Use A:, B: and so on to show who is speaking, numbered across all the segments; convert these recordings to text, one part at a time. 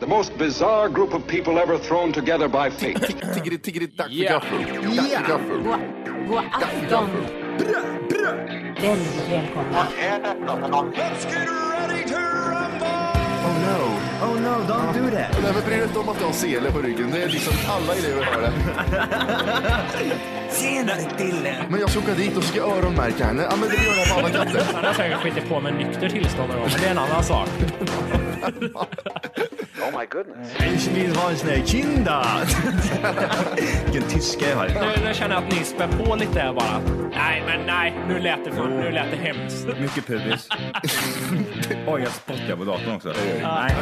A: The most bizarre group of people ever thrown together by fate.
B: Tiggeri, tiggeri, dack för
C: Ja.
B: gaffel. Dack för gaffel.
D: God, god afton. Väldigt välkomna.
E: Oh no, don't do that.
B: Nej, men bry dig inte om att du har sele på ryggen. Det är liksom alla elever har det.
E: Senare killen.
B: Men jag ska åka dit och ska öronmärka henne. Ja, men det gör jag på alla katter.
C: Han har säkert skitit på med nykter tillstånd någon gång, men det är en annan sak.
E: Ich will ha en kinda. Vilken tyska jag har.
C: Nu, nu känner jag att ni spär på lite här bara. Nej, men nej, nu lät det, för, nu lät det hemskt.
F: Mycket pubis. Oj, jag spottar på datorn också. Nej.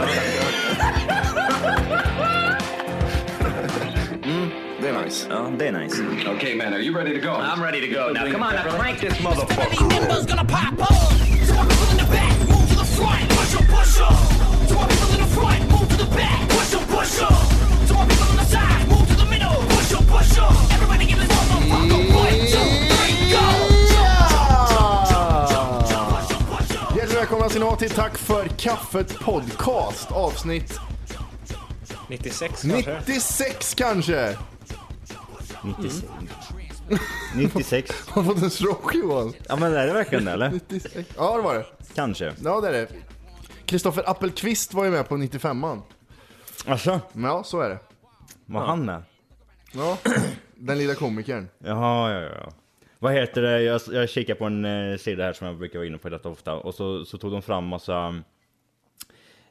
B: Det är nice.
F: Ja, det är nice.
A: okay, man, are you ready to go?
F: I'm ready to go now. Come on, now crank this motherfucker.
G: Every member's gonna pop up. Two people in the back, move to the front, push up, push up. Two people in the front, move to the back, push up, push up. Two people on the side, move to the middle, push up, push up. Everybody give this motherfucker one, two, three, go. Jump, jump, jump, jump, jump, jump, push up, push up.
B: Hjärtligt välkomna ska ni vara till Tack för kaffet podcast avsnitt
C: 96 kanske?
B: 96 kanske.
F: 96.
B: Har du fått en stroke Johan?
F: Ja, men är det verkligen det, eller?
B: 96. Ja det var det.
F: Kanske.
B: Ja det är det. Kristoffer Appelqvist var ju med på 95an.
F: Alltså,
B: Ja så är det.
F: var han med?
B: Ja. Den lilla komikern.
F: Jaha, ja, ja. Vad heter det? Jag, jag kikar på en eh, sida här som jag brukar vara inne på rätt ofta och så, så tog de fram massa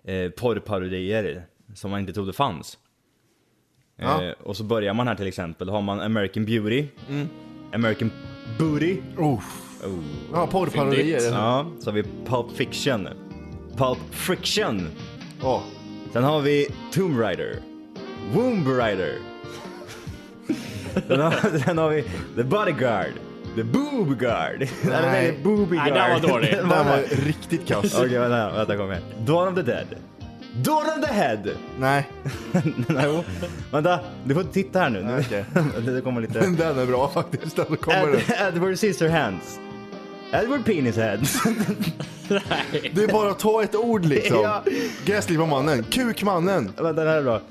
F: eh, porrparodier som man inte trodde fanns.
B: Ja.
F: Eh, och så börjar man här till exempel, har man American Beauty, American Booty,
B: Mm. Oh. Ja porrparodier. Ja.
F: ja, så har vi Pulp Fiction, Pulp Friction,
B: Ja.
F: sen har vi Tomb Raider, Womb Rider, sen, har, sen har vi The Bodyguard, The Boob Guard, nej, nej, nej, Booby
C: Nej, den
F: Guard.
C: var dålig.
F: Den
B: Den
F: var-
B: var riktigt kass.
F: Okej, vänta, vänta, kom igen. Dawn of the Dead. Dawn of the Head!
B: Nej.
F: Nej, jo. vänta, du får titta här nu. nu.
B: Okej.
F: det kommer lite...
B: Den är bra faktiskt. Den kommer den.
F: Ed, Edward Scissorhands. Edward Penishead.
B: Det är bara att ta ett ord liksom.
F: Ja.
B: Gräsklipparmannen, kukmannen.
F: vänta, den här är bra.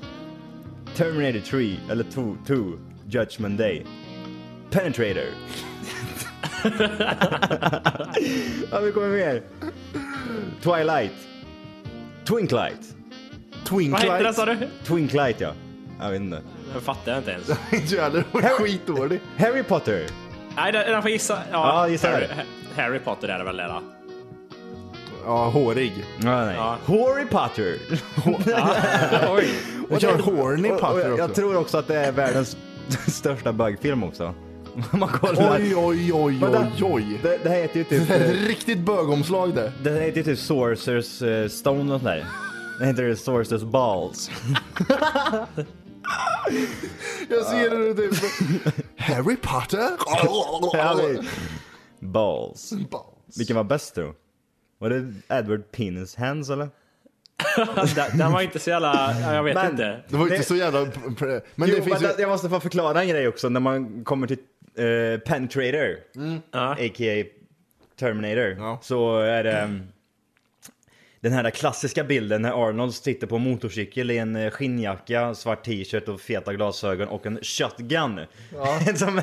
F: Terminator 3, eller 2, 2, Judgment Day. Penetrator. ja, vi kommer mer. Twilight. Twinklight.
C: Vad hette den
F: alltså?
B: Twinklight.
C: sa du?
F: Twinklight, ja. Jag vet inte.
C: Den fattar jag inte ens.
B: Inte jag heller. Hon är skitdålig.
F: Harry Potter.
C: Nej, den, den får gissa.
F: Ja, gissa
C: Harry,
F: här.
C: Harry Potter är det väl det då?
B: Ja, hårig.
F: Ja, nej.
C: Ja.
F: Harry Potter.
C: Oj.
B: Jag kör horny
F: Och- och
B: Potter
F: jag,
B: också.
F: jag tror också att det är världens största bögfilm också. Man kollar.
B: Oj, oj, oj,
F: Vänta.
B: oj, oj.
F: Det, det här heter ju typ,
B: Det är ett riktigt bögomslag det.
F: det här heter ju typ Sorcerers eh, Stone och sådär. Det heter det Sorcerers Balls.
B: Jag ser det nu typ. Harry Potter?
F: Balls. Vilken var bäst tror du? Var det Edward Penis Hands eller?
C: Den, den var inte så jävla... ja, Jag vet
F: Men-
C: inte.
B: Det var ju inte så jävla... Men
F: Jo,
B: det finns ju...
F: vänta, jag måste få förklara en grej också när man kommer till eh, Penetrator,
C: Ja.
F: a.k.a. Terminator,
B: Mm. Ja.
F: så är det mm, den här klassiska bilden när Arnold sitter på en motorcykel i en eh, skinnjacka, svart t-shirt och feta glasögon och en shotgun som,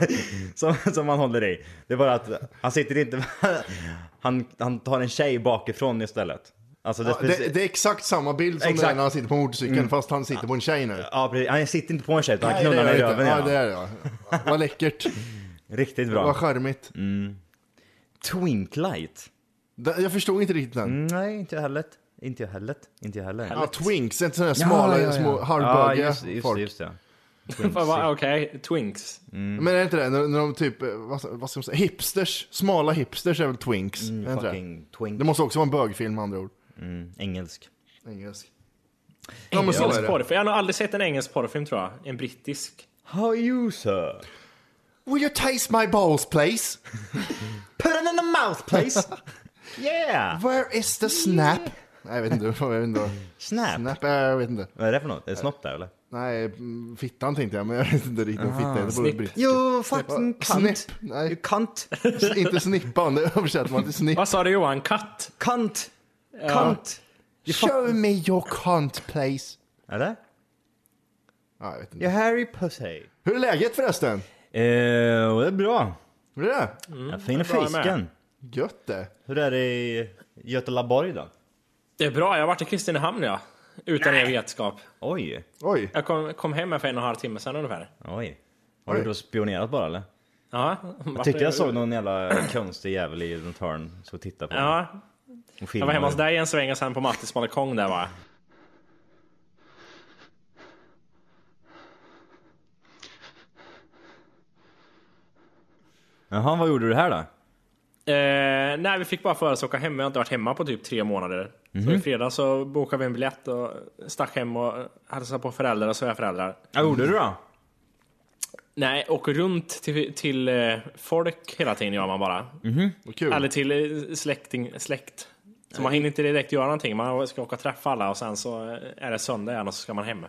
F: som, som han håller i. Det är bara att han sitter inte... Han, han tar en tjej bakifrån istället. Alltså det,
B: Ja, det, det är exakt samma bild som det är
F: Exakt.
B: när han sitter på motorcykeln fast han sitter på en tjej nu.
F: Ja, precis. Han sitter inte på en tjej utan Mm. han
B: det
F: knullar
B: är
F: med
B: det inte.
F: röven.
B: Ja,
F: Ja,
B: det är det. ja. Vad läckert.
F: Riktigt
B: Vad
F: bra. Mm.
B: charmigt.
F: Twinklight.
B: Det- Jag förstod inte riktigt den.
F: Nej, inte jag heller. Inte jag heller. Inte jag heller.
B: Ja, twinks, inte sådana här smala, små halvbögiga
F: just, just,
B: folk.
F: det, just det.
C: Fan, vad- Okej, Twinks.
B: Men är det inte det, när, när de typ, eh, vad, vad ska man säga, hipsters, smala hipsters är väl twinks? är det inte det?
F: Mm, Fucking twink.
B: det måste också vara en bögfilm med andra ord.
F: Engelsk.
B: Engelsk. Ja, men så
C: Engelsk
B: är det.
C: porrfilm. Jag har nog aldrig sett en engelsk porrfilm tror jag. En brittisk.
F: How are you sir?
B: Will you taste my balls please?
F: Put it in the mouth please! yeah!
B: Where is the snap? Nej jag vet inte, jag vet inte. vad-
F: Snap.
B: Snap, eh, jag vet inte.
F: Vad är det för något? Är det snopp där eller?
B: Nej, mm, fittan tänkte jag, men jag vet inte riktigt vad fitta är. Det borde
C: snipp.
B: bli-
F: You fucking
B: Snipp.
F: cunt!
B: Nej.
F: You Typ. cunt!
B: Inte snippan, det översätter man till snipp.
C: Vad sa du Johan? Katt?
F: Cunt! Cunt!
B: Show me your cunt please.
F: Eller?
B: Ja, jag vet inte.
F: Ja, Harry Pussy.
B: Hur är läget förresten?
F: Eh, och det är bra.
B: Hur är det?
F: Mm, Fina
C: bra med.
F: fisken.
B: Gött det.
F: Hur är det i Götelaborg då?
C: Det är bra, jag har varit i Kristinehamn ja. Utan er vetskap.
F: Oj,
B: Oj.
C: Jag kom, kom hem här för en och en halv timme sedan ungefär.
F: oj. Har
B: Oj.
F: du då spionerat bara eller?
C: Ja,
F: Jag tyckte jag såg någon jävla konstig jävel i ett hörn så titta på
C: Ja,
F: och
C: jag
F: filmade.
C: var hemma hos dig en sväng och sen på Mattis balkong där va.
F: Jaha, vad gjorde du här då?
C: Eh, nej, vi fick bara för oss att åka hem. Vi har inte varit hemma på typ tre månader. Så
F: Mhm.
C: i fredags så bokade vi en biljett och stack hem och hälsade på föräldrar och så jag föräldrar.
F: Vad gjorde du då?
C: Nej, åker runt till, till eh, folk hela tiden gör man bara.
B: Vad kul.
C: Eller till eh, släkting, släkt. Så man hinner inte direkt göra någonting. Man ska åka och träffa alla och sen så är det söndag igen och så ska man hem.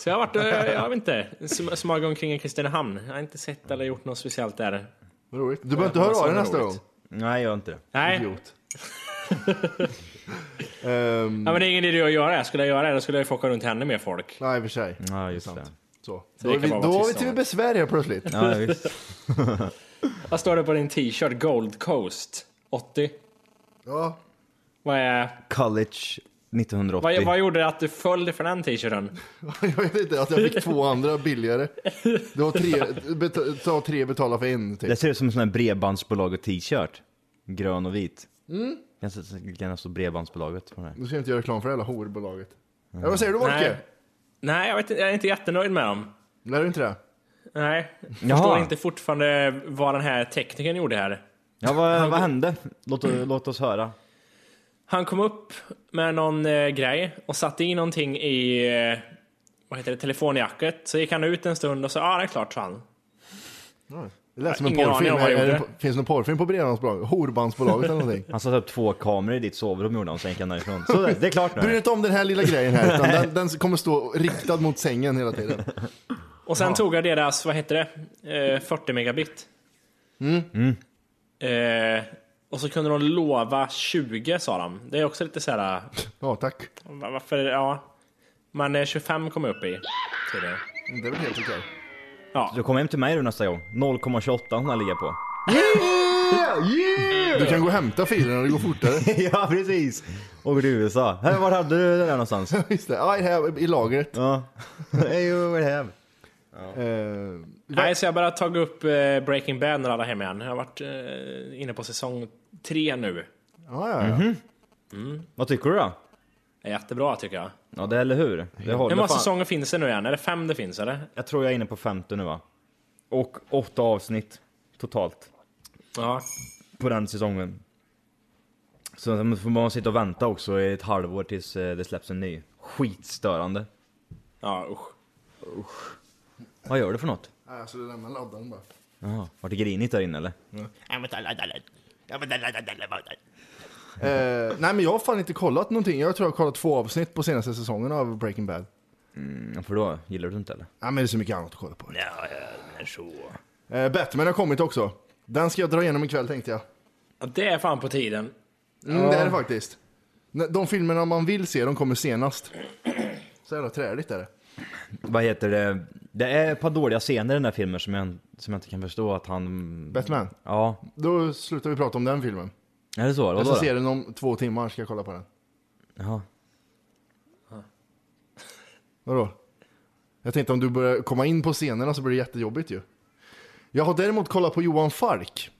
C: Så jag har varit, eh, jag vet inte, sm- smugit omkring i Kristinehamn. Jag har inte sett eller gjort något speciellt där.
B: Roligt. Du behöver inte höra av dig nästa gång.
C: Roligt.
F: Nej, jag inte.
C: Nej,
B: Idiot. Ehm,
C: ja, men det är ingen idé att göra det. Skulle jag göra det, då skulle jag ju få åka runt ännu mer folk.
B: nej, i och för sig.
F: Ja, just det.
B: Så. Då
C: det
B: är
C: kan
B: vi,
C: bara
B: då
C: vara
B: är vi
C: tyst om
B: till
C: det.
B: besvär helt plötsligt.
F: Ja, visst.
C: Vad står det på din t-shirt? Gold Coast 80?
B: Ja.
C: Vad, är,
F: College 1980.
C: vad, vad gjorde att du följde för den t-shirten?
B: Jag vet inte, att jag fick två andra billigare. Det var tre, beta, ta tre betala för en
F: Det
B: typ.
F: ser ut som en sån här bredbandsbolaget t-shirt. Grön och vit. Mm. Kan det stå bredbandsbolaget på den här?
B: Nu ska jag inte göra reklam för det hela horbolaget. Ja, vad säger du
C: Nej.
B: Wolke?
C: Nej, jag, vet, inte- jag är inte jättenöjd med dem.
B: Lär du inte det?
C: Nej,
F: Jaha.
C: förstår inte fortfarande vad den här teknikern gjorde här.
F: Ja, vad, vad hände? Låt, låt oss höra.
C: Han kom upp med någon eh, grej och satte in någonting i eh, vad heter det, telefonjacket. Så gick han ut en stund och sa ja, det är klart, sa han.
B: Det lät som
C: har
B: en
C: ingen
B: porrfilm.
C: aning om vad jag
B: Är det,
C: gjorde.
B: finns det någon porrfilm på Bredbandsbolaget? Horbandsbolaget eller någonting?
F: Han satte upp två kameror i ditt sovrum gjorde han, sen gick han därifrån. Så det, det är klart
B: Bryr dig
F: nu.
B: inte om den här lilla grejen här, utan den, den kommer stå riktad mot sängen hela tiden.
C: Och sen tog jag deras, vad heter det, eh, 40 megabit. Eh, och så kunde de lova 20 sa de. Det är också lite så här,
B: Ja, tack.
C: va- varför, ja. Men eh, 25 kom jag upp i. tydligen.
B: Det är väl helt okej.
F: Du kommer hem till mig då nästa gång. 0,28 hon har ligga på.
B: Du kan gå och hämta filerna, det går fortare.
F: ja, precis! Och går till USA. Här, var hade du det där någonstans?
B: Just det, ja, här, i lagret.
F: ja. Hey, over here.
B: Eh,
C: Nej, så jag har bara tagit upp eh, Breaking Bad när alla är hem igen. Jag har varit eh, inne på säsong tre nu.
B: ja, ja, ja.
C: Mhm.
F: Vad tycker du då?
C: Det är jättebra tycker jag.
F: Ja, det är eller hur? Det håller
C: Hur många
F: fan.
C: säsonger finns det nu igen? Är det fem det finns eller?
F: Jag tror jag är inne på femte nu va? Och åtta avsnitt totalt
C: Ja.
F: på den säsongen. Så man får man sitta och vänta också i ett halvår tills eh, det släpps en ny. Skitstörande.
C: Ja usch.
F: Vad gör du för något?
B: Nej, Jag skulle lämna laddaren bara.
F: Jaha, vart det grinigt där inne eller?
B: Eh, nej men jag har fan inte kollat någonting. Jag tror jag har kollat två avsnitt på senaste säsongen av Breaking Bad.
F: Ja, för då gillar du det inte eller?
B: Nej men det är så mycket annat att kolla på. Ja, så. Eh, Batman har kommit också. Den ska jag dra igenom ikväll tänkte jag.
C: Ja, Det är fan på tiden.
B: Mm, Det är det faktiskt. Nej, De filmerna man vill se, de kommer senast. Så jävla träligt är det.
F: Vad heter det? Det är ett par dåliga scener i den här filmen som jag, som jag inte kan förstå att han...
B: Batman,
F: Ja,
B: då slutar vi prata om den filmen.
F: är det så? Vadå
B: Jag ska
F: då?
B: se den om två timmar, ska jag kolla på den.
F: Jaha.
B: Vadå? Jag tänkte om du börjar komma in på scenerna så blir det jättejobbigt ju. Jag har däremot kollat på Johan Falk.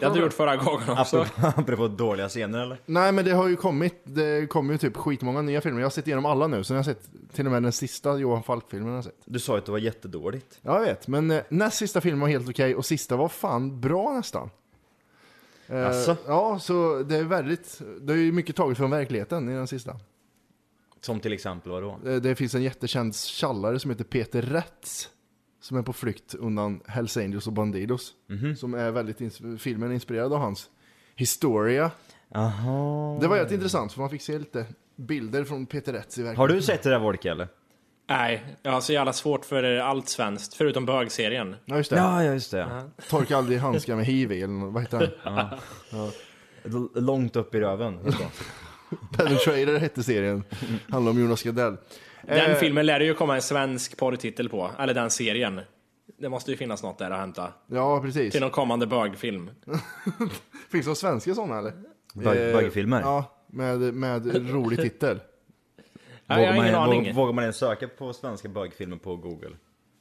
C: Det hade du gjort förra gången
B: Alltså.
C: också.
F: Apropå, apropå dåliga scener eller?
B: Nej men det har ju kommit, det kommer ju typ skitmånga nya filmer. Jag har sett igenom alla nu, så jag har sett till och med den sista Johan Falk-filmen har jag sett.
F: Du sa ju att det var jättedåligt.
B: Ja jag vet, men eh, näst sista filmen var helt okej och sista var fan bra nästan. Eh,
F: Asså?
B: Ja, så det är väldigt, det är ju mycket taget från verkligheten i den sista.
F: Som till exempel vadå?
B: Eh, Det finns en jättekänd tjallare som heter Peter Rätz. Som är på flykt undan Hells Angels och Bandidos.
F: Mhm.
B: Som är väldigt, ins- filmen är inspirerad av hans historia.
F: Jaha.
B: Det var jätte intressant för man fick se lite bilder från Peter Rätz i verkligheten.
F: Har du sett det där Wolke eller?
C: Nej, jag har så jävla svårt för allt svenskt. Förutom bögserien.
B: Ja just det.
F: Ja, ja just det.
B: Torka aldrig handskar med hiv i, eller nå- vad heter den?
F: L- långt upp i röven. heter det.
B: Penetrator hette serien. Handlar om Jonas Gardell.
C: Den
B: Eh.
C: filmen lär det ju komma en svensk porrtitel på, eller den serien. Det måste ju finnas något där att hämta.
B: Ja, precis.
C: Till någon kommande bögfilm.
B: Finns det några svenska sådana eller?
F: Bög-
B: Eh,
F: bögfilmer?
B: Ja, med, med rolig titel.
C: Ja, jag har
F: man,
C: ingen
F: vå-
C: aning.
F: vågar man ens söka på svenska bögfilmer på google?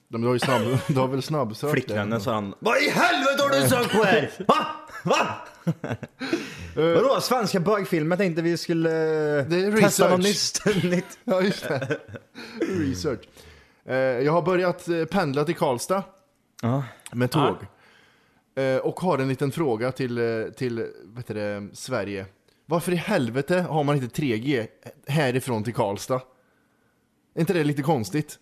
B: De har ju snabb, du har väl snabbsökt det?
F: Flickvännen sa han Vad i helvete har du sökt på här? Va? Va? Vadå svenska bögfilmer? Jag tänkte vi skulle eh,
B: Eh. Det är
F: testa något
B: research.
F: nytt- nytt.
B: Ja, just det. Research. Eh, jag har börjat eh, pendla till Karlstad
F: Ja.
B: med tåg. Eh, och har en liten fråga till, eh, till vet du, det, Sverige. Varför i helvete har man inte 3G härifrån till Karlstad? Är inte det lite konstigt?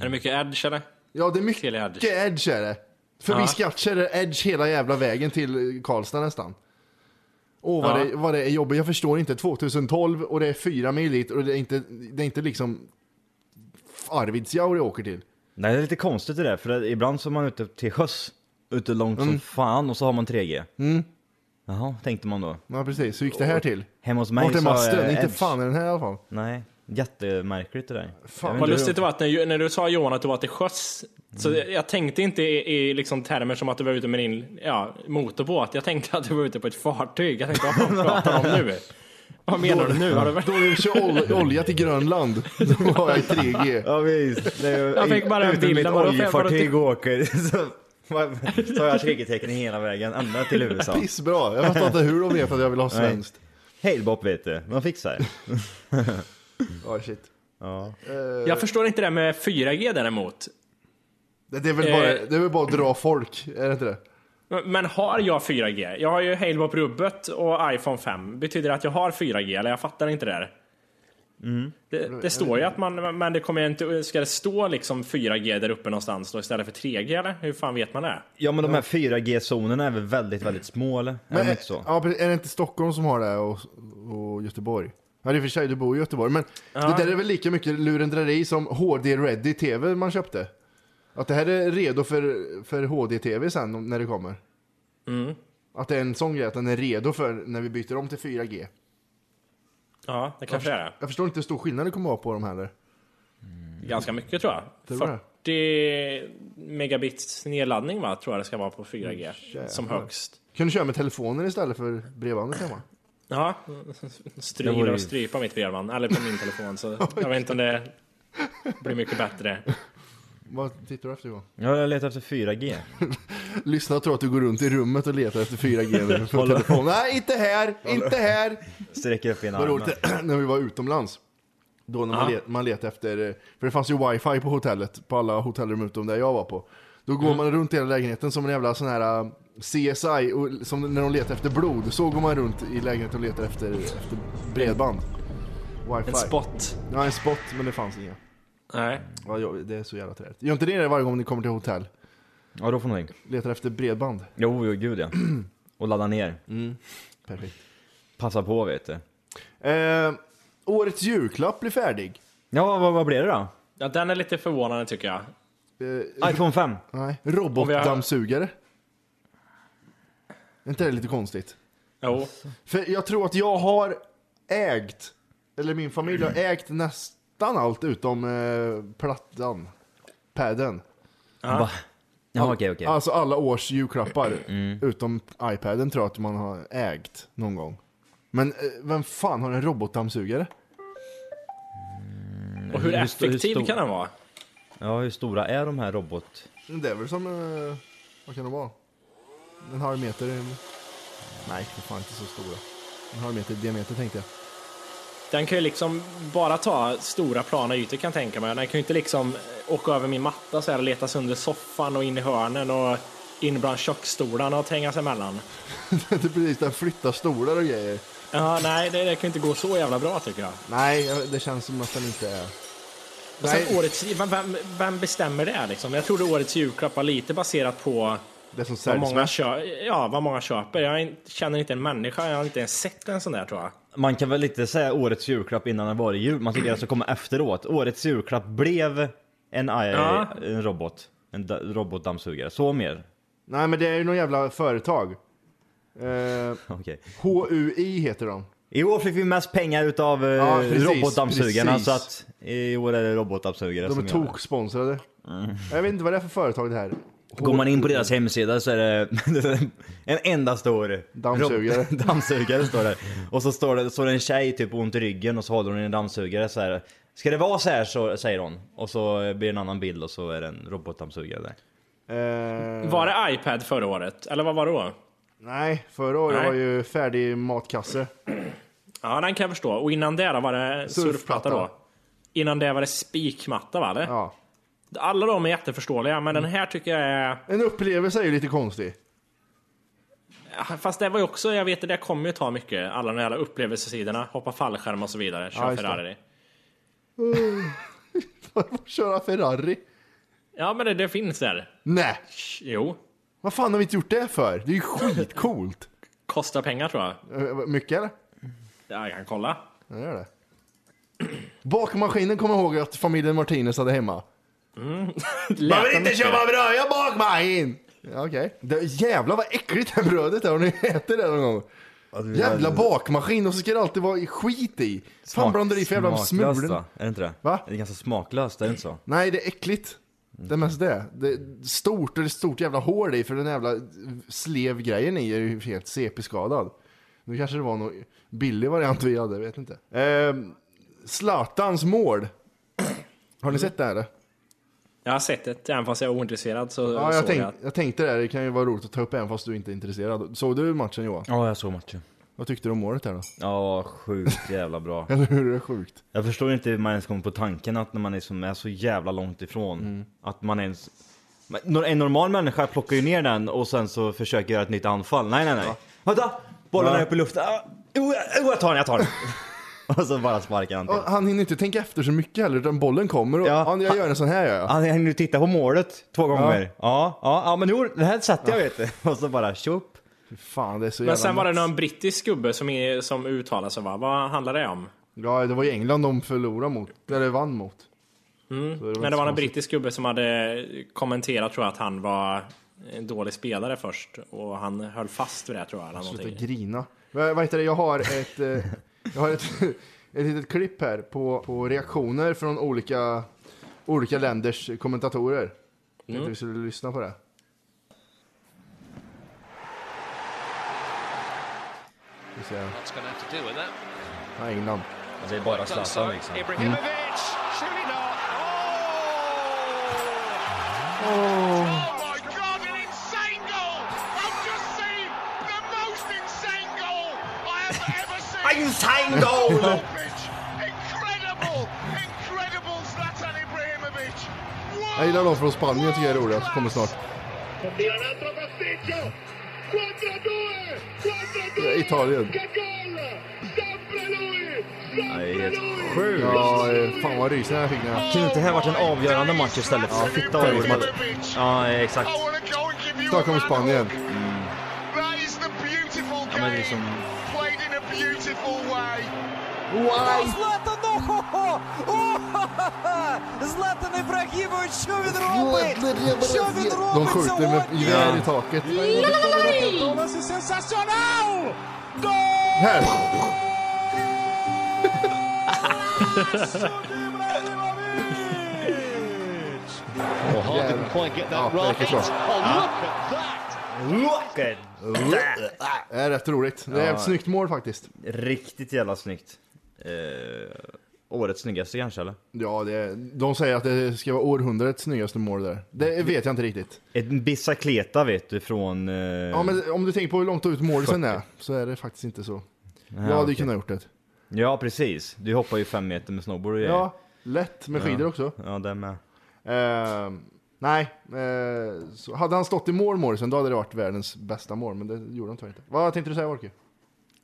C: Är det mycket edge eller?
B: Ja, det är
C: Till
B: mycket
C: edge.
B: edge, är det. För
C: Ja.
B: vi skattkör är edge hela jävla vägen till Karlstad nästan. Åh, vad,
C: Ja.
B: det, vad det är jobbigt. Jag förstår inte. 2012 och det är fyra mil dit och det är inte, det är inte liksom Arvidsjaur jag åker till.
F: Nej det är lite konstigt det där för att ibland så är man ute till sjöss Ute långt
B: Mm.
F: som fan och så har man 3G mm. Jaha tänkte man då
B: Ja, precis. Så gick det här till.
F: Hemma hos mig
B: Vart är
F: så
B: masten?
F: eh,
B: Inte
F: edge.
B: fan är den här i alla fall.
F: Nej Jättemärkligt det där
B: Fan,
F: Jag vet
C: Vad
F: inte
C: lustigt
F: hur-
C: det var att när, när du sa Johan att du var till sjöss. Så jag- jag tänkte inte i, i liksom termer som att du var ute med din ja, motorbåt. Jag tänkte att du var ute på ett fartyg. Jag tänkte, vad fan pratar de om nu? Vad menar du nu? Har du...
B: Då du kör ol- olja till Grönland, då har jag 3G.
F: Ja visst det är ju-
C: Jag fick bara en
F: ut
C: bild,
F: ur mitt
C: jag bara,
F: oljefartyg och åker så så har jag 3G-tecken hela vägen ända till USA
B: Pissbra. Jag fattar inte hur de vet att jag vill ha svenskt.
F: Halebop vet du, man fixar
B: Ja, shit.
F: Ja.
C: Jag förstår inte det här med 4G däremot.
B: Det, det, är väl
C: Eh.
B: bara, det är väl bara att dra folk, är det inte det?
C: Men- Men har jag 4G? Jag har ju Halebop rubbet och iPhone 5. Betyder det att jag har 4G? Eller jag fattar inte det där. Det, det står ju att man, men det kommer ju inte, ska det stå liksom 4G där uppe någonstans då istället för 3G eller? Hur fan vet man det?
F: ja men de här 4G-zonerna är väl väldigt, väldigt små eller? är de inte så?
B: Ja, precis. är det inte Stockholm som har det och, och Göteborg? Ja, det är för sig, du bor i Göteborg. Men det där är väl lika mycket lurendrejeri som HD-ready-tv man köpte? Att det här är redo för, för HD-tv sen om- när det kommer? Att det är en sån grej, att den är redo för när vi byter om till 4G.
C: Ja, det kanske är det.
B: Jag förstår inte hur stor skillnad det kommer vara på dem heller.
C: Ganska mycket tror jag.
B: Tror
C: 40 megabits nedladdning va, tror jag det ska vara på 4G. Som högst.
B: Kan du köra med telefoner istället för bredbandet hemma?
C: Ja,
F: Det vore
C: stryper
F: ju-
C: och strypa mitt bredband. Eller på min telefon. Så jag vet inte om det blir mycket bättre.
B: Vad tittar du efter Johan?
F: Ja, jag letar efter 4G.
B: Lyssna tror att du går runt i rummet och letar efter 4G nu på telefonen. Nej, inte här! Inte här!
F: Sträcker upp ena
B: Det var
F: armen.
B: roligt när vi var utomlands. Då när man, let, man letade efter, eh, för det fanns ju wifi på hotellet, på alla hotellrum utom där jag var på. Då
C: Mm.
B: går man runt i hela lägenheten som en jävla sån här eh, CSI, och, som när de letar efter blod. Så går man runt i lägenheten och letar efter, efter bredband. Wifi.
C: En spot.
B: Ja, en spot, men det fanns inga.
C: Nej.
B: Ja, jag- det är så jävla träligt. Gör inte det varje gång ni kommer till hotell?
F: Ja, då får någonting.
B: Letar efter bredband.
F: Jo, jo, gud ja. Och ladda ner.
B: Perfekt.
F: Passa på vet du.
B: Eh, årets julklapp blir färdig.
F: Ja, vad, vad blir det då?
C: Ja, den är lite förvånande tycker jag.
B: Eh,
F: iPhone 5.
B: Nej,
C: Om vi har-
B: robotdammsugare. Är inte det lite konstigt?
C: Jo.
B: För jag tror att jag har ägt, eller min familj har ägt nästan allt utom eh, plattan, padden.
F: Va? Ja, okej, okej.
B: Alltså alla års julklappar
C: Mm.
B: utom iPaden tror jag att man har ägt någon gång. Men eh, vem fan har en robotdammsugare?
C: Och hur
F: Hur sto- hur
C: effektiv
F: stor-
C: kan den vara?
F: Ja, hur stora är de här robot...
B: Det är väl som, eh, vad kan det vara? En halv meter? i- Nej, för fan inte så stora. En halv meter i diameter tänkte jag.
C: Den kan ju liksom bara ta stora plana ytor kan jag tänka mig. Den kan ju inte liksom åka över min matta så här och leta sig under soffan och in i hörnen och in bland köksstolarna och tränga sig emellan.
B: det är precis, den flyttar stolar och grejer.
C: Ja, nej, det, det kan ju inte gå så jävla bra tycker jag.
B: Nej, jag- det känns som att den inte är...
C: Och sen
B: Nej.
C: årets, vem, vem, vem bestämmer det liksom? Jag trodde årets julklapp var lite baserat på
B: Det som
C: vad
B: säljs
C: många,
B: många...
C: kö- ja, vad många köper. Jag in- känner inte en människa, jag har inte ens sett en sån där tror jag.
B: Mm.
F: Man kan väl inte säga årets julklapp innan det var jul. Man tycker det ska komma efteråt. Årets julklapp blev en, i-
C: Ja.
F: en robot. En da- robotdammsugare. Så mer.
B: Nej, men det är ju någon jävla företag. Eh,
F: Okej.
B: HUI heter de.
F: I år fick vi mest pengar utav eh,
B: Ja, precis,
F: robotdammsugarna
B: precis.
F: så att i år är det robotdammsugare
B: De är
F: som gör det.
B: toksponsrade. Jag vet inte vad det är för företag det här.
F: Går man in på deras hemsida så är det en enda stor
B: Dammsugare.
F: rob- dammsugare står det. Och så står det, står det en tjej typ ont i ryggen och så håller hon i en dammsugare så här. Ska det vara så här så säger hon. Och så blir det en annan bild och så är det en robotdammsugare där.
B: Eh,
C: Var det iPad förra året? Eller vad var det då?
B: nej, förra året
C: Nej.
B: var ju färdig matkasse.
C: Ja, den kan jag förstå. Och innan det då var det surfplatta då? Innan det var det spikmatta va? Eller?
B: Ja.
C: Alla de är jätteförståeliga, men den här tycker jag är...
B: En upplevelse är ju lite konstig.
C: Fast det var ju också, jag vet att det kommer ju ta mycket. Alla de här upplevelsesidorna, hoppa fallskärm och så vidare,
B: Ja,
C: köra
B: just det.
C: Ferrari.
B: Köra Ferrari?
C: Ja, men det, det finns där.
B: Nej,
C: Jo.
B: vad fan har vi inte gjort det för? Det är ju skitcoolt.
C: Kostar pengar tror jag.
B: Eh, Mycket eller?
C: Ja, Jag kan kolla.
B: Ja, gör det. Bakmaskinen kommer jag ihåg att familjen Martinez hade hemma. Mm.
C: Lät den mycket?
B: bröd, jag bakmaskin! Ja, Okej. Det- Jävlar vad äckligt det här brödet är, har ni ätit det någon gång? Jävla bakmaskin och så ska det alltid vara skit i. Fan blandar du i för jävla
F: Smaklöst,
B: smulor?
F: va? Är det inte det?
B: Va?
F: Det är ganska smaklöst, är det inte så?
B: Nej, det är äckligt. Det är mest det. det är stort och det är stort jävla hål i för den jävla slev-grejen i är ju helt CP-skadad. Nu kanske det var någon billig variant vi hade, jag vet inte. Ehm, Zlatans mål. Har ni sett det här? eller?
C: Jag har sett det, även fast jag är ointresserad så
B: Ja,
C: såg
B: jag, tänk,
C: jag. att-
B: jag tänkte det. här. Det kan ju vara roligt att ta upp även fast du inte är intresserad. Såg du matchen Johan?
F: Ja, jag såg matchen.
B: Vad tyckte du om målet här då?
F: Ja, sjukt jävla bra.
B: Eller hur? Det är sjukt.
F: Jag förstår inte hur man ens kommer på tanken att när man liksom är så jävla långt ifrån, att man ens... Men nor- En normal människa plockar ju ner den och sen så försöker göra ett nytt anfall. Nej, nej, nej. Vänta! Bollen är uppe i luften. Ah, Jo, jag- jo, jag tar den, jag tar den. och så bara sparkar han till.
B: Ja, Han hinner inte tänka efter så mycket heller, utan bollen kommer och
F: Ja,
B: ja, jag
F: han-
B: gör en sån här gör jag.
F: Han hinner ju titta på målet två gånger. Ja, ja, ja, men jo, det här satte jag vet du. Och så bara tjopp.
B: Fan, det är så
C: Men
B: jävla
C: sen var det
B: nuts.
C: någon brittisk gubbe som, är, som uttalade sig va? Vad handlar det om?
B: Ja, det var ju England de förlorade mot, eller vann mot. Så
C: Mm. Men det var en
B: inte så
C: brittisk gubbe som hade kommenterat tror jag att han var en dålig spelare först och han höll fast vid det tror jag. Eller
B: konstigt.
C: någonting.
B: Sluta grina. Vad vad heter det, jag har ett, eh, jag har ett, ett litet klipp här på, på reaktioner från olika, olika länders kommentatorer. Jag
C: Mm.
B: tänkte vi skulle lyssna på det. Vi ser.
H: What's going to have to do with that?
B: Ja, England.
F: Det är bara
H: Done so.
F: Zlatan liksom.
H: Ibrahimovic, surely not. Oh! Oh my God! An insane goal! I've just seen the most insane goal I have ever seen.
F: Insane goal!
H: Ibrahimovic, incredible, incredible Zlatan Ibrahimovic. World-
B: Jag gillar de från Spanien, tycker jag är roliga, som kommer snart.
H: Tira un altro pasticcio! 4 2! 4 2!
B: Eh, Italien.
H: Che gol! Sempre lui!
F: Nej,
H: Sempre
F: helt
H: lui!
F: sjukt.
B: Ja, eh, fan vad rysningar jag fick när jag...
F: Kunde inte det här varit en avgörande match istället? Ja, fitta vad det som att... Ja, exakt.
H: I wanna go and give you
B: Snacka om
H: a man
B: Spanien.
H: That is the beautiful
F: men det är
H: game
F: som-
H: played in a beautiful way.
B: De skjuter med gevär i taket. Här! Jävlar. Ja, det räcker så.
F: Look at that!
B: Det är rätt roligt. Det är ett snyggt mål faktiskt.
F: Riktigt jävla snyggt. Eh, årets snyggaste kanske eller?
B: Ja, det är, de säger att det ska vara århundradets snyggaste mål där. Det vet jag inte riktigt.
F: En Bicicleta vet du från... Eh,
B: Ja, men om du tänker på hur långt ut målisen är, så är det faktiskt inte så. Jag hade ju
F: okej.
B: kunnat gjort det.
F: ja precis, du hoppar ju fem meter med snowboard och grejer.
B: Ja, lätt med skidor också.
F: Ja, det med.
B: Ehm, nej, eh, så hade han stått i mål Morrison då hade det varit världens bästa mål, men det gjorde han tyvärr inte. Vad tänkte du säga Orke?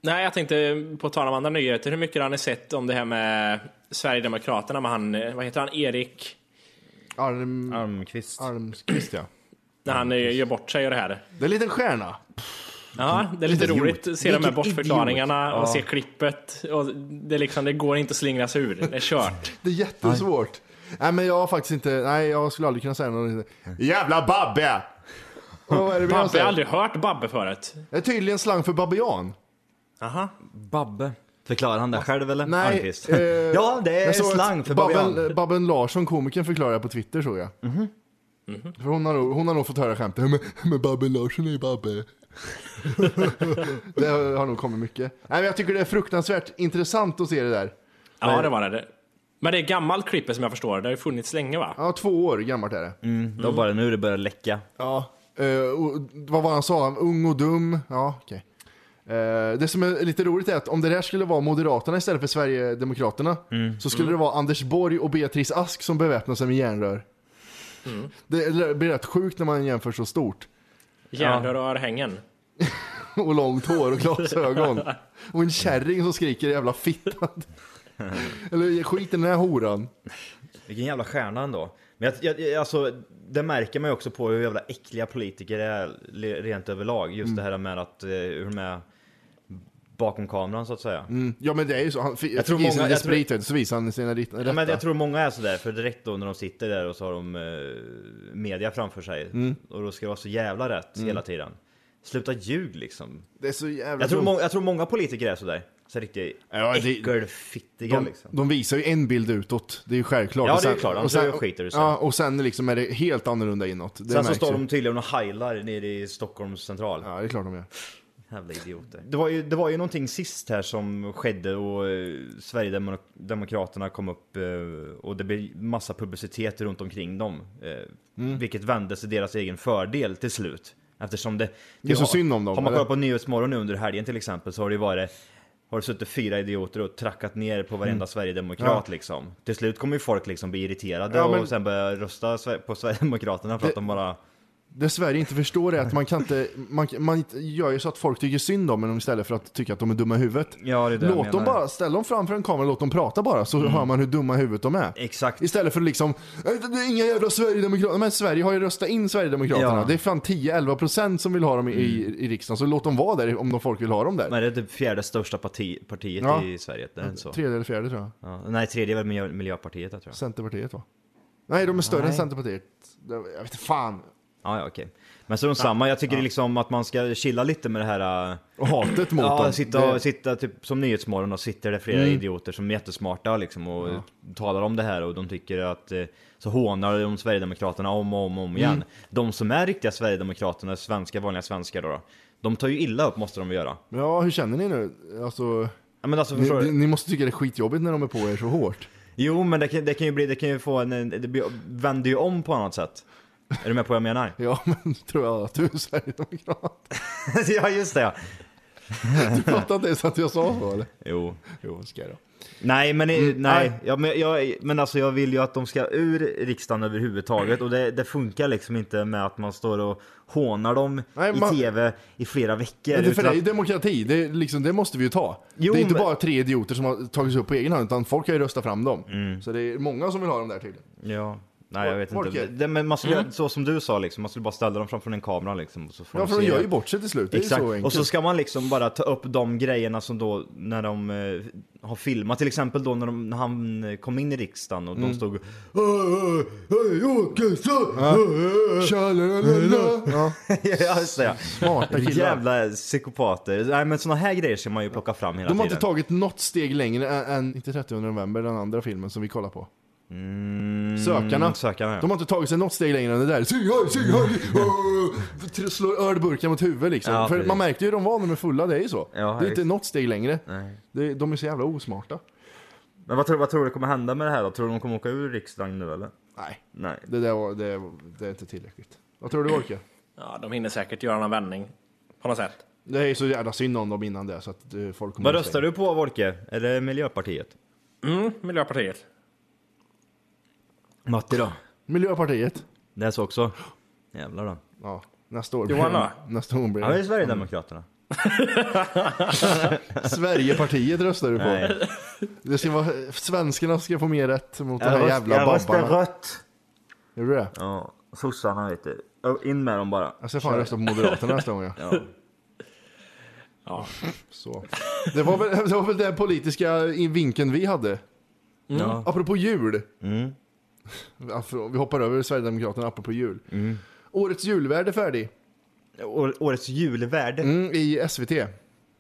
C: Nej, jag tänkte på tal om andra nyheter. Hur mycket har ni sett om det här med Sverigedemokraterna med han, eh, vad heter han, Erik?
B: Arm,
F: Almqvist.
B: Armsqvist ja.
C: När han eh, gör bort sig och det här.
B: Det är en liten stjärna.
C: Ja, det är lite
B: Idiot.
C: roligt att se de här
B: Vilken
C: bortförklaringarna
B: idiot.
C: och
B: Ja.
C: se klippet. Och det, är liksom, det går inte att slingra sig ur, det är kört.
B: Det är jättesvårt. Nej men jag har faktiskt inte, nej jag skulle aldrig kunna säga något. Jävla Babbe! Och vad är det vi har
C: Babbe, jag har
B: sagt?
C: aldrig hört Babbe förut.
B: Det är tydligen slang för babian.
C: Aha.
F: Babbe. Förklarar han det själv eller?
B: Nej.
F: Almqvist.
B: eh,
F: ja, det är
B: jag såg att
F: slang för babian. Mhm.
B: Babben, Babben Larsson, komikern, förklarade på Twitter såg jag. Mhm. För hon, har nog, hon har nog fått höra skämtet, men, men Babben Larsson är ju Babbe. det har nog kommit mycket. Nej, men jag tycker det är fruktansvärt intressant att se det där.
C: Ja, det var det. Men det är gammalt klipper som jag förstår. Det har ju funnits länge va?
B: Ja, två år gammalt är det.
F: Mm, det var bara nu det började läcka.
B: Ja. eh, och, vad var han sa? Han var Ung och dum. Ja, okej. Eh, det som är lite roligt är att om det där skulle vara Moderaterna istället för Sverigedemokraterna
F: Mm.
B: så skulle det vara Anders Borg och Beatrice Ask som beväpnar sig med järnrör. Det blir rätt sjukt när man jämför så stort.
C: Järnrör och örhängen.
B: Och långt hår och glasögon. och en kärring som skriker jävla fitta. Eller skit i den här horan.
F: Vilken jävla stjärna ändå. Men jag, jag, jag, alltså, det märker man ju också på hur jävla äckliga politiker är le- rent överlag.
B: Mm.
F: Just det här med att, eh, hur de är bakom kameran så att säga.
B: Mm. Ja men det är ju så. Han fick,
F: Jag tror
B: fick i sig
F: många-
B: lite
F: jag tror-
B: sprit vet du, så visar han sina rit- rätta.
F: Ja, men jag tror många är sådär, för direkt då när de sitter där och så har de eh, media framför sig.
B: Mm.
F: Och då ska det vara så jävla rätt hela tiden. Sluta ljug liksom.
B: Det är så jävla
F: Jag tror,
B: dumt.
F: må- jag tror många politiker är sådär. Så riktigt
B: Ja, det-
F: äckelfittiga
B: De,
F: liksom.
B: de visar ju en bild utåt, det är ju självklart.
F: Ja,
B: Och
F: det är ju klart. Annars är det skiter du sig.
B: Ja, och sen liksom är det helt annorlunda inåt. Det
F: Sen så
B: märks
F: står
B: ju.
F: de tydligen och heilar nere i Stockholms central.
B: Ja, det är klart de gör.
F: Jävla idioter. Det var, ju, det var ju någonting sist här som skedde och eh, Sverigedemokraterna kom upp eh, och det blev massa publicitet runt omkring dem. Eh,
B: Mm.
F: Vilket vände sig deras egen fördel till slut. Eftersom det...
B: Det är så synd om dem,
F: Har man
B: eller?
F: kollat på Nyhetsmorgon nu under helgen till exempel så har det ju varit har det suttit fyra idioter och trackat ner på
B: Mm.
F: varenda sverigedemokrat liksom. Till slut kommer ju folk liksom bli irriterade
B: Ja, men-
F: och sen börja rösta Sver- på Sverigedemokraterna för att de bara...
B: Det Sverige inte förstår är att man kan inte, man, man inte- gör ju så att folk tycker synd om dem istället för att tycka att de är dumma i huvudet.
F: Ja, det är det jag
B: låt dem
F: menar. Mm.
B: bara, ställ dem framför en kamera, låt dem prata bara, så hör man hur dumma i huvudet de är.
F: Exakt.
B: Istället för liksom, "Nej, det är inga jävla Sverigedemokrater, men Sverige har ju röstat in Sverigedemokraterna.
F: Ja. Mm.
B: Det är fan 10-11% som vill ha dem i, i, i riksdagen, så låt dem vara där om de folk vill ha dem där.
F: Nej, det är typ fjärde största parti, partiet
B: Ja.
F: i Sverige. Det är inte så.
B: Tredje eller fjärde tror jag.
F: Ja. Nej, tredje är väl miljö, Miljöpartiet jag tror jag.
B: Centerpartiet va? Nej, de är större än Centerpartiet. Det- Jag vet inte fan.
F: Ja, ja, okej. Men så är de samma. Jag tycker liksom att man ska chilla lite med det här... äh,
B: Och hatet mot
F: Ja,
B: dem.
F: sitta,
B: det, Mm.
F: och, sitta typ som Nyhetsmorgon och sitter det flera idioter som är jättesmarta liksom och talar om det här och de tycker att eh, så hånar de Sverigedemokraterna om och om, och om igen. De som är riktiga Sverigedemokraterna, svenska, vanliga svenskar då, då, de tar ju illa upp måste de väl göra.
B: Ja, hur känner ni nu? Alltså,
F: Ja, men alltså,
B: ni,
F: förstår
B: ni,
F: du?
B: ni måste tycka det är skitjobbigt när de är på er så hårt.
F: Jo, men det kan, det kan ju bli, det kan ju få en, en- det blir, vänder ju om på annat sätt. Är du med på vad jag menar?
B: Ja, men tror jag att du är sverigedemokrat.
F: ja, just det ja.
B: Du fattar inte ens att jag sa så eller?
F: Jo.
B: Jo, ska jag då.
F: Nej, men, nej.
B: Mm. nej.
F: nej. Ja, men, jag, men alltså, jag vill ju att de ska ur riksdagen överhuvudtaget och det, det funkar liksom inte med att man står och hånar dem
B: Nej,
F: i
B: man-
F: tv i flera veckor.
B: Men det, för
F: utan
B: det är ju
F: att-
B: demokrati, det, är liksom, det måste vi ju ta.
F: Jo,
B: det är inte
F: men-
B: bara tre idioter som har tagits upp på egen hand, utan folk har ju röstat fram dem. Så det är många som vill ha dem där tydligen.
F: Ja. Nej, jag vet
B: Folk
F: inte.
B: är-
F: Det, men man skulle, så som du sa, liksom, man skulle bara ställa dem framför en kamera liksom, och så får
B: Mm. Ja, för de
F: se-
B: gör ju bort sig till slut. Det är ju
F: Exakt.
B: så enkelt.
F: och så ska man liksom bara ta upp de grejerna som då när de eh, har filmat. Till exempel då när, de, när han eh, kom in i riksdagen och
B: Mm.
F: de stod "Åh, åh, hej, Åkesson! Åh, åh, åh."
B: Tjalalala. Ja.
F: Ja, just det.
B: Smarta killar.
F: Jävla psykopater. Nej men såna här grejer ska man ju plocka fram hela
B: De har
F: tiden.
B: inte tagit något steg längre ä- än, inte 30 november, den andra filmen som vi kollar på. Sökarna.
F: Mm, sökarna, ja.
B: De har inte tagit sig något steg längre än det där. Sing hoj, sing hoj! Åh! äh, Tr- Slår ölburkar mot huvudet liksom.
F: Ja,
B: För
F: precis.
B: man märkte ju hur de var när de är fulla, det är ju så.
F: Ja,
B: det är inte
F: visst.
B: något steg längre.
F: Nej.
B: Det, de är så jävla osmarta.
F: Men vad tror, vad tror du kommer hända med det här då? Tror du de kommer åka ur riksdagen nu eller?
B: Nej,
F: Nej.
B: det där var, det, det är inte tillräckligt. Vad tror du Orke?
C: Ja, de hinner säkert göra någon vändning. På något sätt.
B: Det är ju så jävla synd om dem innan det så att eh, folk kommer
F: Vad röstar du på Wolke? Är det Miljöpartiet?
C: Mm, Miljöpartiet.
F: Matti då?
B: Miljöpartiet.
F: Det är så också? Jävlar då.
B: Ja, nästa år.
C: Johan då?
B: Nästa år blir
F: Ja, det är
B: det.
F: Sverigedemokraterna.
B: Sverigepartiet röstar du på.
F: Nej.
B: Det ska vara, svenskarna ska få mer rätt mot de här jävla babbarna.
F: rött.
B: Gör du det?
F: Ja, sossarna vet du. In med dem bara.
B: Jag ska fan rösta på Moderaterna nästa gång. Ja.
C: Ja.
B: Så. Det, var väl, det var väl den politiska i- vinkeln vi hade.
F: Ja.
B: Apropå jul. Ja, för- Vi hoppar över Sverigedemokraterna apropå jul. Årets julvärld är färdig
F: Å- Årets julvärde.
B: mm, i SVT.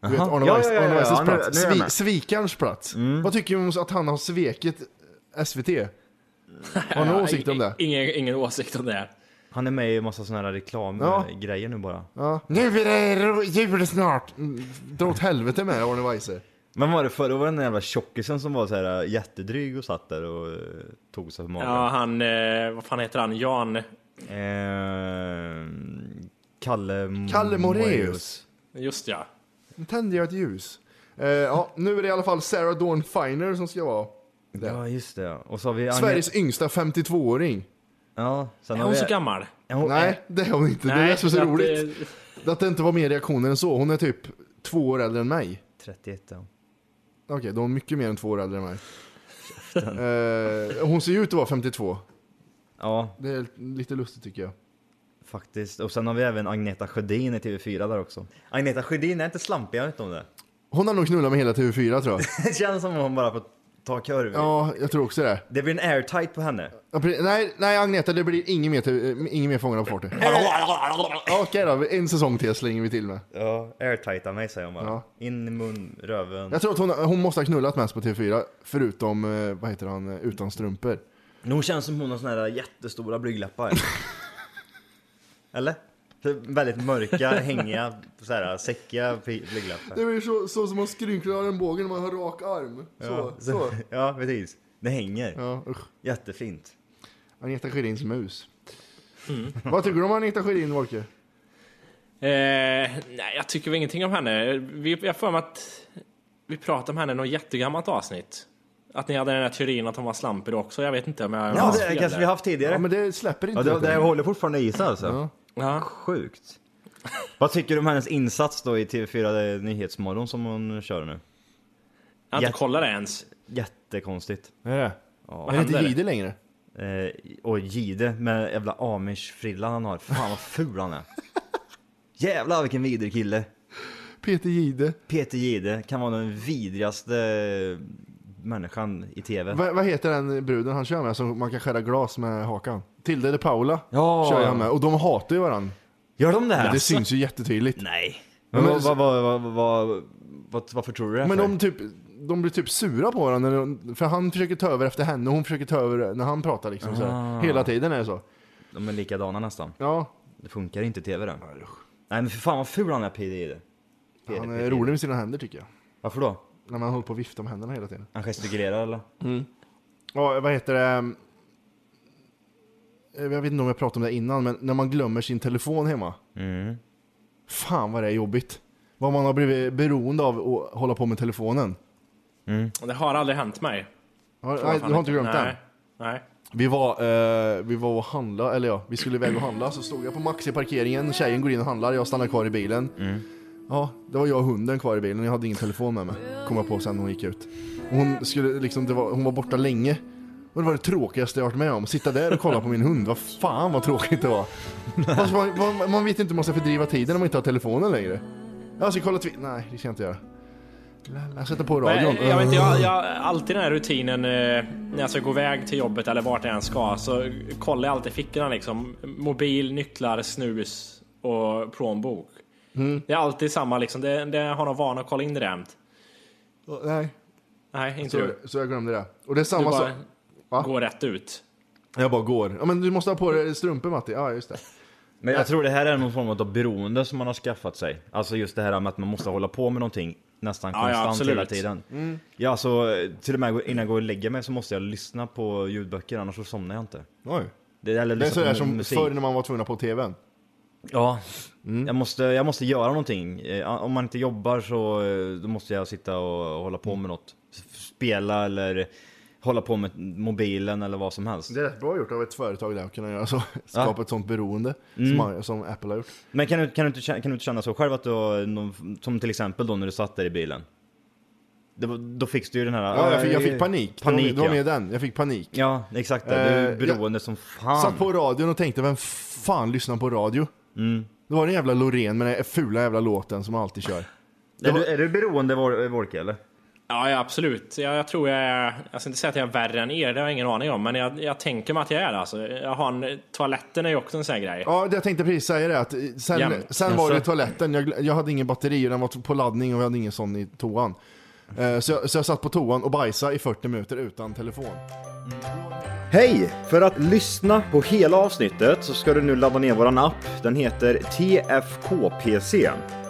B: Du vet
F: Jaha.
B: Arne
F: Ja,
B: Weiss-
F: ja, ja,
B: Arne
F: ja,
B: Weiss'
F: ja, nu-
B: plats.
F: nu är jag
B: Svi-
F: med. Mm.
B: Svikarens plats. Vad tycker du om att han har svikit SVT? Har du någon åsikt om det?
C: Ingen, ingen åsikt om det.
F: Han är med i en massa såna här
B: Ja.
F: reklamgrejer nu bara.
B: Ja. Nu är det ro- jul snart! Mm, Dra åt helvete med Arne Weise.
F: Men var det förr? Då var det den där jävla tjockisen som var så här äh, jättedryg och satt där och eh, tog sig för magen.
C: Ja, han... Eh, vad fan heter han? Jan...
F: Ehm, Kalle...
B: Kalle Moreus.
C: Just ja.
B: Nu tände jag ett ljus. Eh, ja, nu är det i alla fall Sarah Dawn Finer som ska vara
F: Ja, just det. Och så har vi... Agne-
B: Sveriges yngsta 52-åring.
F: Ja, sen
C: Är
F: har
C: hon
F: vi...
C: så gammal?
F: Är hon-
B: Nej, det är hon inte. det är det som är så
C: att,
B: roligt.
C: eh,
B: Att det inte var mer reaktioner än så. Hon är typ två år äldre än mig.
F: 31 ja.
B: Okej, då är hon mycket mer än två år äldre än mig. Eh, hon ser ju ut att vara 52.
F: Ja,
B: Det är lite lustigt tycker jag.
F: faktiskt. Och sen har vi även Agneta Sjödin i TV4 där också. Agneta Sjödin är inte slampig, jag vet inte om det.
B: Hon har nog knullat med hela TV4 tror jag.
F: Det känns som om hon bara får ta kurv.
B: Ja, jag tror också det.
F: Det blir en airtight på henne.
B: Ja, precis. Nej, nej Agneta, det blir ingen mer, TV eh, ingen mer Fångarna på fortet. Okej då, en säsong till slänger vi till med.
F: Ja, airtighta mig säger hon bara.
B: Ja.
F: In i mun, röven.
B: Jag tror att hon, hon måste ha knullat mest på TV4, förutom, eh, vad heter han, eh, Utan strumpor.
F: Men hon känns som hon har såna här jättestora blygdläppar. Eller? Så Väldigt mörka, hängiga, så här, säckiga bly- blygdläppar.
B: är så, så som man skrynklar en båge när man har rak arm.
F: Ja, ja, precis. Det hänger.
B: Ja, usch.
F: Jättefint.
B: Agneta Sjödins mus. Vad tycker du om Agneta Sjödin, Volke?
C: Eh, nej, jag tycker väl ingenting om henne. Vi, jag har för mig att vi pratade om henne i något jättegammalt avsnitt. Att ni hade den där teorin att hon var slampig också. Jag vet inte om jag
F: Ja,
C: har
F: det
C: fel
F: kanske
C: där.
F: vi haft tidigare.
B: Ja, men det släpper inte.
F: Ja, det,
B: vet du.
F: det håller fortfarande i sig alltså.
B: Ja.
C: Ja.
F: Sjukt. Vad tycker du om hennes insats då i TV4 Nyhetsmorgon som hon kör nu?
C: Jag har
F: Jätte-
C: inte kollat det ens.
F: Jättekonstigt.
B: Är det?
C: Vad
B: Är det inte
C: händer?
B: Jihde längre?
F: Eh, och Gide med jävla amish-frillan han har. Fan vad ful han är. Jävlar vilken vidrig kille.
B: Peter Jihde.
F: Peter Gide kan vara den vidrigaste eh, människan i TV.
B: Va, vad heter den bruden han kör med som man kan skära glas med hakan? Tilde eller Paula
F: Ja.
B: kör han med. Och de hatar ju varandra.
F: Gör de det här?
B: Det syns ju jättetydligt.
F: Nej. Men,
B: Men-
F: vad, vad, vad, vad, vad, vad, varför tror du det? är
B: Men
F: för?
B: de, typ, de blir typ sura på varandra, när de- för han försöker ta över efter henne och hon försöker ta över när han pratar liksom så här. Hela tiden är det så.
F: de är likadana nästan.
B: Ja,
F: Det funkar inte i TV det. Nej men för fan vad ful han är Peter Gide. Peter-
B: han
F: Peter
B: är
F: Gide.
B: rolig med sina händer tycker jag.
F: Varför då?
B: När man håller på och viftar med händerna hela tiden.
F: Han gestikulerar eller?
B: Ja, vad heter det? Eh, Jag vet inte om jag pratade om det innan, men när man glömmer sin telefon hemma. Fan vad det är jobbigt. Vad man har blivit beroende av att hålla på med telefonen.
C: Det har aldrig hänt mig.
B: Har, nej, du har inte glömt den?
C: Nej. Nej.
B: Vi var, eh, vi var och handla, eller ja, vi skulle iväg och handla, så stod jag på Maxi parkeringen, tjejen går in och handlar, jag stannar kvar i bilen.
C: Mm.
B: Ja, det var jag och hunden kvar i bilen, jag hade ingen telefon med mig, kom jag på sen när hon gick ut. Och hon, skulle, liksom, det var, hon var borta länge, och det var det tråkigaste jag varit med om, sitta där och kolla på min hund, vad fan vad tråkigt det var. Alltså, man, man, man vet inte hur man ska fördriva tiden om man inte har telefonen längre. Jag ska kolla tv- nej det ska jag inte göra. La, la, Sätta på radion.
C: Men, jag vet inte, jag, jag, alltid den här rutinen eh, när jag ska gå iväg till jobbet eller vart jag än ska så kollar jag alltid fickorna liksom. Mobil, nycklar, snus och plånbok. Det är alltid samma liksom. Det, det har någon vana att kolla in det där jämt.
B: Nej,
C: Nej, inte
B: så,
C: du.
B: så jag glömde det. Och det är
C: Du
B: samma sak.
C: bara
B: Va?
C: går rätt ut.
B: Jag bara går. Ja men du måste ha på dig strumpor Matti. Ja just det.
F: Men jag tror det här är någon form av beroende som man har skaffat sig. Alltså just det här med att man måste hålla på med någonting nästan
C: Ja, ja,
F: konstant
C: absolut.
F: hela tiden. Ja, alltså till och med innan jag går och lägger mig så måste jag lyssna på ljudböcker annars så somnar jag inte.
B: Oj. Liksom
F: Det, eller
B: Det är
F: lyssna
B: sådär
F: på
B: som
F: musik.
B: förr när man var tvungen på tvn.
F: Ja, jag, måste, jag måste göra någonting. Eh, Om man inte jobbar så eh, då måste jag sitta och hålla på med något. Spela eller hålla på med mobilen eller vad som helst.
B: Det är rätt bra gjort av ett företag där att kunna göra så. Skapa ett sånt beroende som, man, som Apple har gjort.
F: Men kan du, kan, du inte, kä- kan du inte känna så själv att du har någon, som till exempel då när du satt där i bilen? Det var, då fick du ju den här... eh,
B: Ja, jag, fick, jag fick panik.
F: Panik
B: det var, det var
F: ja.
B: med den. Jag fick panik.
F: Ja, exakt. Det. Du är
B: Eh,
F: beroende som fan.
B: Satt på radion och tänkte vem fan lyssnar på radio? Det var den jävla Loreen med den fula jävla låten som man alltid kör.
F: är, du, är du beroende Vol- Volke eller?
C: Ja, ja absolut. Jag, jag tror jag är, jag ska inte säga att jag är värre än er, det har jag ingen aning om, men jag, jag tänker mig att jag är det alltså. Jag har en, toaletten är ju också en sån här grej.
B: Ja, det jag tänkte precis säga det att sen,
C: Jämt.
B: sen var det
F: Alltså.
B: toaletten, jag, jag hade ingen batteri och den var på laddning och jag hade ingen sån i toan. Eh, Så jag, så jag satt på toan och bajsade i 40 minuter utan telefon.
F: Hej! För att lyssna på hela avsnittet så ska du nu ladda ner våran app. Den heter TFKPC.